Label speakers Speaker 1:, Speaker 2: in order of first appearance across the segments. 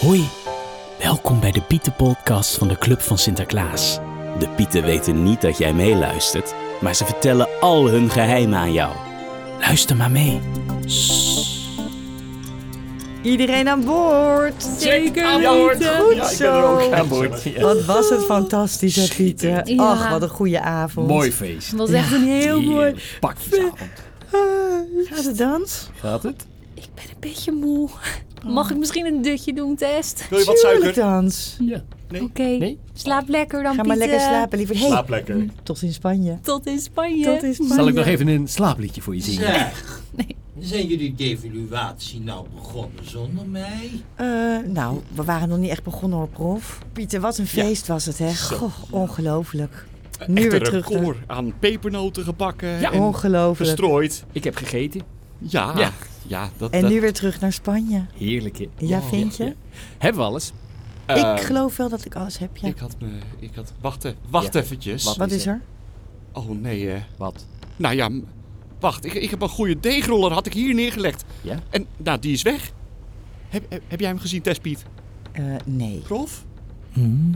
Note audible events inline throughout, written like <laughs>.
Speaker 1: Hoi, welkom bij de Pietenpodcast van de Club van Sinterklaas. De Pieten weten niet dat jij meeluistert, maar ze vertellen al hun geheimen aan jou. Luister maar mee.
Speaker 2: Iedereen aan boord.
Speaker 3: Zeker aan boord. weten.
Speaker 2: Goed
Speaker 3: Ja, ik ben er
Speaker 2: zo.
Speaker 3: ook aan boord. Ja.
Speaker 2: Wat was het fantastisch, hè, Pieter?
Speaker 3: Schitterend.
Speaker 2: Ach, wat een goede avond.
Speaker 3: Mooi feest.
Speaker 4: Dat was echt een heel mooi.
Speaker 3: pakjesavond.
Speaker 2: Ah, Gaat het dans?
Speaker 3: Gaat het?
Speaker 4: Ik ben een beetje moe. Mag ik misschien een dutje doen, Test?
Speaker 5: Wil je wat
Speaker 2: Tuurlijk
Speaker 5: suiker?
Speaker 2: dans.
Speaker 3: Ja.
Speaker 4: Oké.
Speaker 3: Nee?
Speaker 4: Slaap lekker dan,
Speaker 2: Ga maar
Speaker 4: Pieter.
Speaker 2: lekker slapen, liever. Hey, mm,
Speaker 5: Slaap lekker.
Speaker 2: tot in Spanje.
Speaker 4: Tot in Spanje.
Speaker 2: Tot in Spanje.
Speaker 3: Zal ik nog even een slaapliedje voor je zingen?
Speaker 6: Zeg, zijn jullie devaluatie nou begonnen zonder mij?
Speaker 2: Eh, nou, we waren nog niet echt begonnen hoor, prof. Pieter, wat een feest was het, hè? Goh, ongelooflijk. Nu
Speaker 5: Echt
Speaker 2: weer
Speaker 5: een
Speaker 2: terug.
Speaker 5: record aan pepernoten gebakken
Speaker 3: Ja.
Speaker 2: naar-
Speaker 5: en
Speaker 2: Ongelooflijk.
Speaker 5: verstrooid.
Speaker 3: Ik heb gegeten.
Speaker 5: Ja,
Speaker 3: Ja.
Speaker 5: ja. dat,
Speaker 2: En
Speaker 5: dat-
Speaker 2: nu weer terug naar Spanje.
Speaker 3: Heerlijk, hè?
Speaker 2: Ja, vind
Speaker 3: ja.
Speaker 2: je?
Speaker 3: Hebben we alles?
Speaker 5: eh,
Speaker 2: Ik geloof wel dat ik alles heb, ja.
Speaker 5: ik had me... Ik had... Wacht, e- wacht
Speaker 3: Ja.
Speaker 5: eventjes.
Speaker 3: Wat?
Speaker 2: Wat is er?
Speaker 5: Oh, nee, eh.
Speaker 3: Wat?
Speaker 5: Nou ja, m- wacht. Ik, ik heb een goede deegroller, had ik hier neergelegd.
Speaker 3: Ja?
Speaker 5: En, nou, die is weg. Heb, heb, heb jij hem gezien, Tespiet?
Speaker 2: Eh, nee.
Speaker 5: Prof?
Speaker 6: Hmm.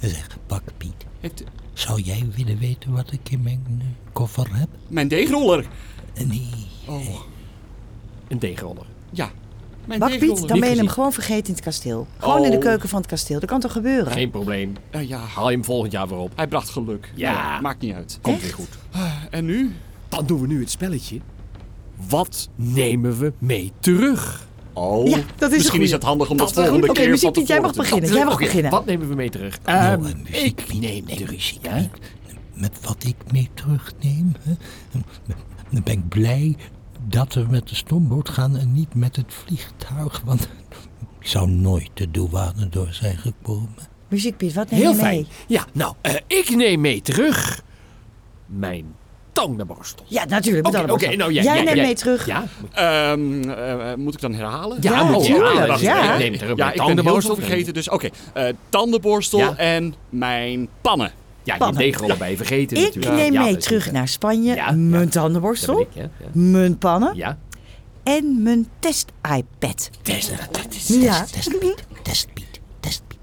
Speaker 6: Zeg, pak Piet,
Speaker 5: Heeft
Speaker 6: zou jij willen weten wat ik in mijn eh, koffer heb?
Speaker 5: mijn deegroller.
Speaker 6: Nee.
Speaker 5: Oh,
Speaker 3: Een deegroller.
Speaker 5: ja. Mijn
Speaker 2: Bakpiet,
Speaker 5: deegroller.
Speaker 2: dan ben je hem
Speaker 3: gezien.
Speaker 2: gewoon vergeten in het kasteel. Gewoon in de
Speaker 5: Oh.
Speaker 2: keuken van het kasteel. Dat kan toch gebeuren?
Speaker 3: Geen probleem.
Speaker 5: Eh, ja,
Speaker 3: Haal je hem volgend jaar weer op.
Speaker 5: hij bracht geluk.
Speaker 3: Ja.
Speaker 5: Nee, maakt niet uit. Eh,
Speaker 3: Komt weer goed.
Speaker 5: En nu?
Speaker 3: Dan doen we nu het spelletje. Wat nemen we mee terug?
Speaker 5: Oh,
Speaker 2: Ja, dat is een
Speaker 5: misschien
Speaker 2: goeie.
Speaker 5: is het handig om dat,
Speaker 2: is een
Speaker 5: volgende
Speaker 2: goeie. Oké,
Speaker 5: keer
Speaker 2: muziek,
Speaker 5: van
Speaker 2: Piet, jij mag
Speaker 5: tevoren te-
Speaker 2: beginnen. Jij mag
Speaker 3: Oké,
Speaker 2: beginnen.
Speaker 3: Wat nemen we mee terug?
Speaker 6: Nou,
Speaker 3: Ehm,
Speaker 6: een muziek
Speaker 3: ik
Speaker 6: niet.
Speaker 3: neem
Speaker 6: Nee,
Speaker 3: terug.
Speaker 6: muziek
Speaker 3: ja.
Speaker 6: niet. Met wat ik mee terugneem, hè, dan ben ik blij dat we met de stoomboot gaan en niet met het vliegtuig. Want ik zou nooit de douane door zijn gekomen.
Speaker 2: Muziek, Piet, wat neem
Speaker 3: Heel
Speaker 2: je mee?
Speaker 3: fijn. Ja, nou, eh, ik neem mee terug mijn tandenborstel.
Speaker 2: Ja, natuurlijk. met
Speaker 3: Oké,
Speaker 2: alle
Speaker 3: oké,
Speaker 2: boodschap.
Speaker 3: nou jij,
Speaker 2: jij
Speaker 3: jij
Speaker 2: neemt
Speaker 3: jij-
Speaker 2: mee terug.
Speaker 3: Ja,
Speaker 5: Ehm, eh, eh, moet ik dan herhalen?
Speaker 3: Oh, ja,
Speaker 2: Ja,
Speaker 3: moet je
Speaker 2: tuurlijk,
Speaker 3: halen. Wacht,
Speaker 2: ja.
Speaker 3: Ik neem terug
Speaker 5: Ja,
Speaker 3: mijn
Speaker 5: ik ben heel veel
Speaker 3: tandenborstel.
Speaker 5: vergeten. Dus oké, Eh, tandenborstel
Speaker 3: Ja.
Speaker 5: en mijn pannen.
Speaker 3: Ja, die
Speaker 2: Pannen.
Speaker 3: deegrol erbij vergeten
Speaker 2: Ik
Speaker 3: natuurlijk.
Speaker 2: neem
Speaker 3: Ja,
Speaker 2: mee
Speaker 3: dat is
Speaker 2: terug
Speaker 3: niet,
Speaker 2: naar Spanje
Speaker 3: Ja,
Speaker 2: mijn
Speaker 3: ja.
Speaker 2: tandenborstel,
Speaker 3: Dat ben ik, ja, ja.
Speaker 2: mijn pannen
Speaker 3: Ja,
Speaker 2: en mijn test-iPad.
Speaker 6: Test, test,
Speaker 2: Ja.
Speaker 6: test, Piet, test, Piet, test, Piet.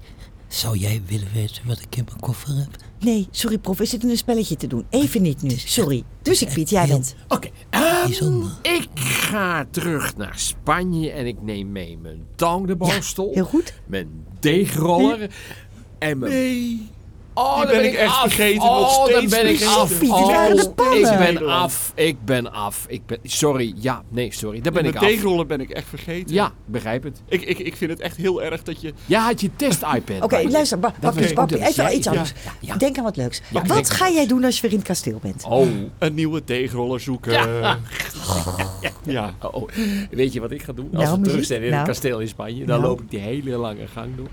Speaker 6: Zou jij willen weten wat ik in mijn koffer heb?
Speaker 2: Nee, sorry prof, we zitten een spelletje te doen. Even niet nu, sorry. Dus ik Piet, jij bent.
Speaker 3: oké. ehm,
Speaker 6: Bijzonder.
Speaker 3: ik ga terug naar Spanje en ik neem mee mijn tandenborstel.
Speaker 2: Heel goed.
Speaker 3: Mijn deegroller en mijn
Speaker 5: Nee.
Speaker 3: Oh,
Speaker 5: Die
Speaker 3: dan
Speaker 5: ben ik echt
Speaker 3: af.
Speaker 5: vergeten,
Speaker 3: Oh,
Speaker 5: nog
Speaker 3: dan
Speaker 5: steeds
Speaker 3: ben ik
Speaker 5: vergeten.
Speaker 3: af.
Speaker 2: Piet, het
Speaker 3: Oh,
Speaker 2: waren de
Speaker 3: ik
Speaker 2: pannen.
Speaker 3: ben af. Ik ben af. Ik ben... Sorry. Ja, nee, sorry. Daar ben
Speaker 5: Mijn
Speaker 3: ik af.
Speaker 5: deegrollen ben ik echt vergeten.
Speaker 3: Ja, begrijp het.
Speaker 5: Ik, ik, ik vind het echt heel erg dat je...
Speaker 3: Jij had je test-iPad.
Speaker 2: Oké,
Speaker 3: bij je.
Speaker 2: luister, ba
Speaker 3: Dat
Speaker 2: Bakpiet,
Speaker 3: weet ik ook,
Speaker 2: Bakpiet,
Speaker 3: dat
Speaker 2: even
Speaker 3: jij-
Speaker 2: iets anders.
Speaker 3: Ja, ja.
Speaker 2: Denk aan wat leuks.
Speaker 3: Ja, ik denk
Speaker 2: wat ga jij doen als je weer in het kasteel bent?
Speaker 3: Oh.
Speaker 5: Een nieuwe deegroller zoeken. Ja.
Speaker 3: <laughs>
Speaker 5: ja.
Speaker 3: Oh, oh. weet je wat ik ga doen? Als
Speaker 2: Nou,
Speaker 3: we terug
Speaker 2: muziek.
Speaker 3: zijn in
Speaker 2: Nou.
Speaker 3: het kasteel in Spanje, dan
Speaker 2: Nou.
Speaker 3: loop ik die hele lange gang door.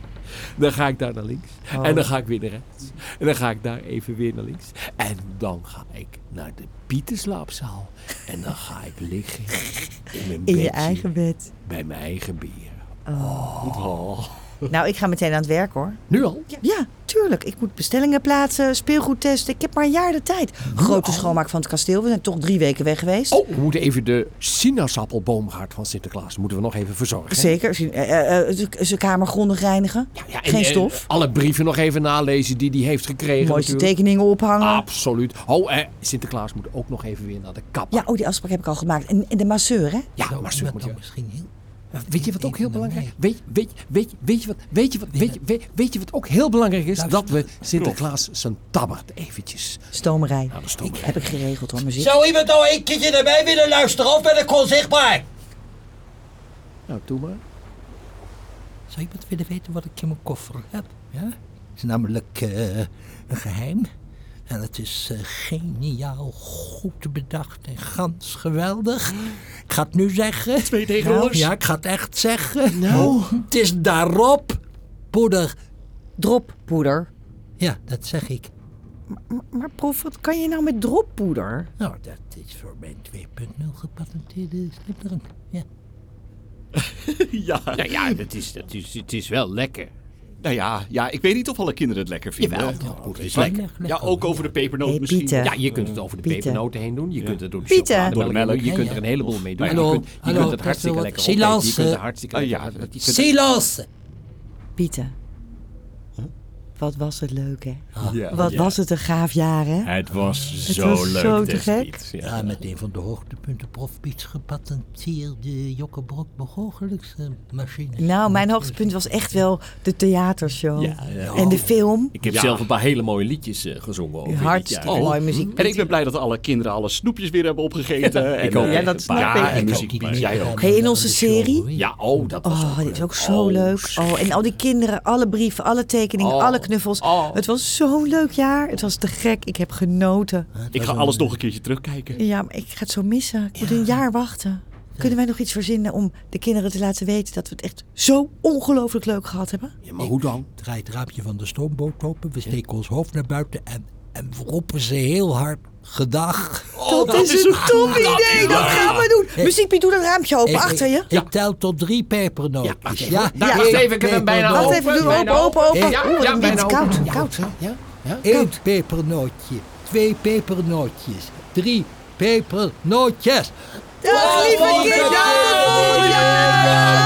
Speaker 3: Dan ga ik daar naar links.
Speaker 2: Oh.
Speaker 3: En dan ga ik weer naar rechts. En dan ga ik daar even weer naar links. En dan ga ik naar de Pieterslaapzaal. En dan ga ik liggen in mijn
Speaker 2: In je
Speaker 3: bedje
Speaker 2: eigen
Speaker 3: <laughs>
Speaker 2: Oh. bed.
Speaker 3: bij mijn eigen bier.
Speaker 2: Nou, ik ga meteen aan het werk hoor.
Speaker 3: Nu al?
Speaker 2: Ja, tuurlijk. Ik moet bestellingen plaatsen, speelgoed testen. Ik heb maar een jaar de tijd. Grote schoonmaak van het kasteel. We zijn toch drie weken weg geweest.
Speaker 3: Oh, we moeten even de sinaasappelboomgaard van Sinterklaas moeten we nog even verzorgen. hè?
Speaker 2: Zeker. eh, Zijn kamer grondig reinigen.
Speaker 3: Ja, en-
Speaker 2: Geen
Speaker 3: en
Speaker 2: stof.
Speaker 3: alle brieven nog even nalezen die hij heeft gekregen.
Speaker 2: Mooiste
Speaker 3: natuurlijk.
Speaker 2: tekeningen ophangen.
Speaker 3: Absoluut. Oh, eh, Sinterklaas moet ook nog even weer naar de kapper.
Speaker 2: Ja, oh, die afspraak heb ik al gemaakt. En, en de masseur, hè?
Speaker 3: Ja,
Speaker 6: Zou
Speaker 3: maar
Speaker 6: iemand
Speaker 3: zo moet
Speaker 6: dan
Speaker 3: je...
Speaker 6: misschien heel
Speaker 3: Weet je wat ook heel
Speaker 6: Even naar
Speaker 3: belangrijk is? Weet, weet, weet, weet je wat, weet, je wat, weet, je- weet, weet je wat ook heel belangrijk is?
Speaker 2: Nou,
Speaker 6: Luister.
Speaker 2: <laughs>
Speaker 3: Dat we Sinterklaas zijn tabbert eventjes
Speaker 2: Stomerij.
Speaker 3: aan de stoom
Speaker 2: Heb ik geregeld hoor, muziek.
Speaker 6: Zou iemand nou een keertje naar mij willen luisteren of ben ik onzichtbaar?
Speaker 3: Nou, doe maar.
Speaker 6: Zou iemand willen weten wat ik in mijn koffer heb? Ja? Het is namelijk eh, een geheim. En het is eh, geniaal goed bedacht en gans geweldig. Ik ga het nu zeggen. Nou,
Speaker 5: Twee deegrollers.
Speaker 6: Ja, ik ga het echt zeggen.
Speaker 3: Nou.
Speaker 6: Het is daarop, poeder.
Speaker 2: Droppoeder.
Speaker 6: Ja, dat zeg ik.
Speaker 2: Maar prof, wat kan je nou met droppoeder?
Speaker 6: Nou, dat is voor mijn 2.0 gepatenteerde slipdrank. Ja.
Speaker 5: <laughs> ja.
Speaker 3: Nou ja, dat is, dat is, het is wel lekker.
Speaker 5: Nou ja, ja, ik weet niet of alle kinderen het lekker vinden.
Speaker 3: Jawel,
Speaker 5: Ja,
Speaker 3: poeder is
Speaker 6: lekker.
Speaker 5: Ja, ook over de pepernoot
Speaker 2: Hey,
Speaker 5: misschien.
Speaker 2: Pieter.
Speaker 3: Ja, je kunt het over de
Speaker 2: Pieter.
Speaker 3: pepernoten heen doen. Je kunt het door de
Speaker 2: Pieter.
Speaker 3: chocolademelk
Speaker 5: Door de
Speaker 3: heen doen,
Speaker 5: melk.
Speaker 3: Je
Speaker 6: Ja,
Speaker 3: kunt
Speaker 6: ja.
Speaker 3: er een heleboel mee doen.
Speaker 6: Hallo,
Speaker 3: je kunt, je
Speaker 6: hallo,
Speaker 3: kunt het
Speaker 6: best wel
Speaker 3: hartstikke
Speaker 6: wat
Speaker 2: eh,
Speaker 3: lekker opeten. Je
Speaker 6: silence.
Speaker 3: kunt het hartstikke
Speaker 5: Ah,
Speaker 3: lekker
Speaker 5: ja,
Speaker 3: opeten.
Speaker 5: dat-
Speaker 3: Je kunt-
Speaker 6: Silence!
Speaker 2: Pieten. Wat was het leuk, hè?
Speaker 3: Ja.
Speaker 2: Wat
Speaker 3: Ja.
Speaker 2: was het een gaaf jaar, hè?
Speaker 3: Het was
Speaker 2: Het
Speaker 3: zo
Speaker 2: was
Speaker 3: leuk.
Speaker 2: zo te
Speaker 3: dit
Speaker 2: gek.
Speaker 3: lied, ja.
Speaker 6: Ja, met een van de hoogtepunten Prof Piets gepatenteerde Jokkebrok begoochelijkse machine.
Speaker 2: Nou, mijn hoogtepunt was echt wel de theatershow.
Speaker 3: Ja, ja.
Speaker 2: En de film.
Speaker 3: Ik heb
Speaker 5: Ja.
Speaker 3: zelf een paar hele mooie liedjes eh, gezongen over dit
Speaker 2: Hartstikke
Speaker 3: jaar.
Speaker 2: mooi muziek.
Speaker 5: En ik ben blij dat alle kinderen alle snoepjes weer hebben opgegeten. en,
Speaker 3: Ik ook.
Speaker 5: eh,
Speaker 3: Ja, dat
Speaker 5: een
Speaker 3: snap
Speaker 5: paar-
Speaker 3: ik.
Speaker 5: Ja, en
Speaker 3: Ik
Speaker 5: muziek. Jij ook.
Speaker 2: Hey, in onze serie?
Speaker 3: Ja, oh, dat was
Speaker 2: Oh,
Speaker 3: ook
Speaker 2: dit is
Speaker 3: leuk.
Speaker 2: ook zo
Speaker 3: Oh,
Speaker 2: leuk. Oh, en al die kinderen, alle brieven, alle tekeningen,
Speaker 3: Oh.
Speaker 2: alle knuffels.
Speaker 3: Oh.
Speaker 2: Het was zo'n leuk jaar. Het was te gek. Ik heb genoten.
Speaker 5: Ik ga
Speaker 6: eh,
Speaker 5: alles nog een keertje terugkijken.
Speaker 2: Ja, maar ik ga het zo missen. Ik moet een jaar wachten. Kunnen wij nog iets verzinnen om de kinderen te laten weten dat we het echt zo ongelooflijk leuk gehad hebben?
Speaker 3: Ja, maar hoe dan?
Speaker 6: Draait het raampje van de stoomboot open, we steken ons hoofd naar buiten en, en we roepen ze heel hard. Gedag.
Speaker 2: dat, is een top idee. Dat gaan we doen. Muziekpiet, doe dat raampje open
Speaker 6: Ik-
Speaker 2: achter
Speaker 6: ik-
Speaker 2: je.
Speaker 6: Ik, tel tot drie pepernootjes.
Speaker 3: Ja, wacht even.
Speaker 6: Daar
Speaker 2: wacht
Speaker 6: even, ik heb hem bijna
Speaker 2: Wacht even, doe open, open, open.
Speaker 6: Ja,
Speaker 2: Oeh, wat een wind. koud. koud.
Speaker 6: Eén pepernootje, twee pepernootjes, drie pepernootjes.
Speaker 2: Dag, lieve kinderen. Tot volgend jaar.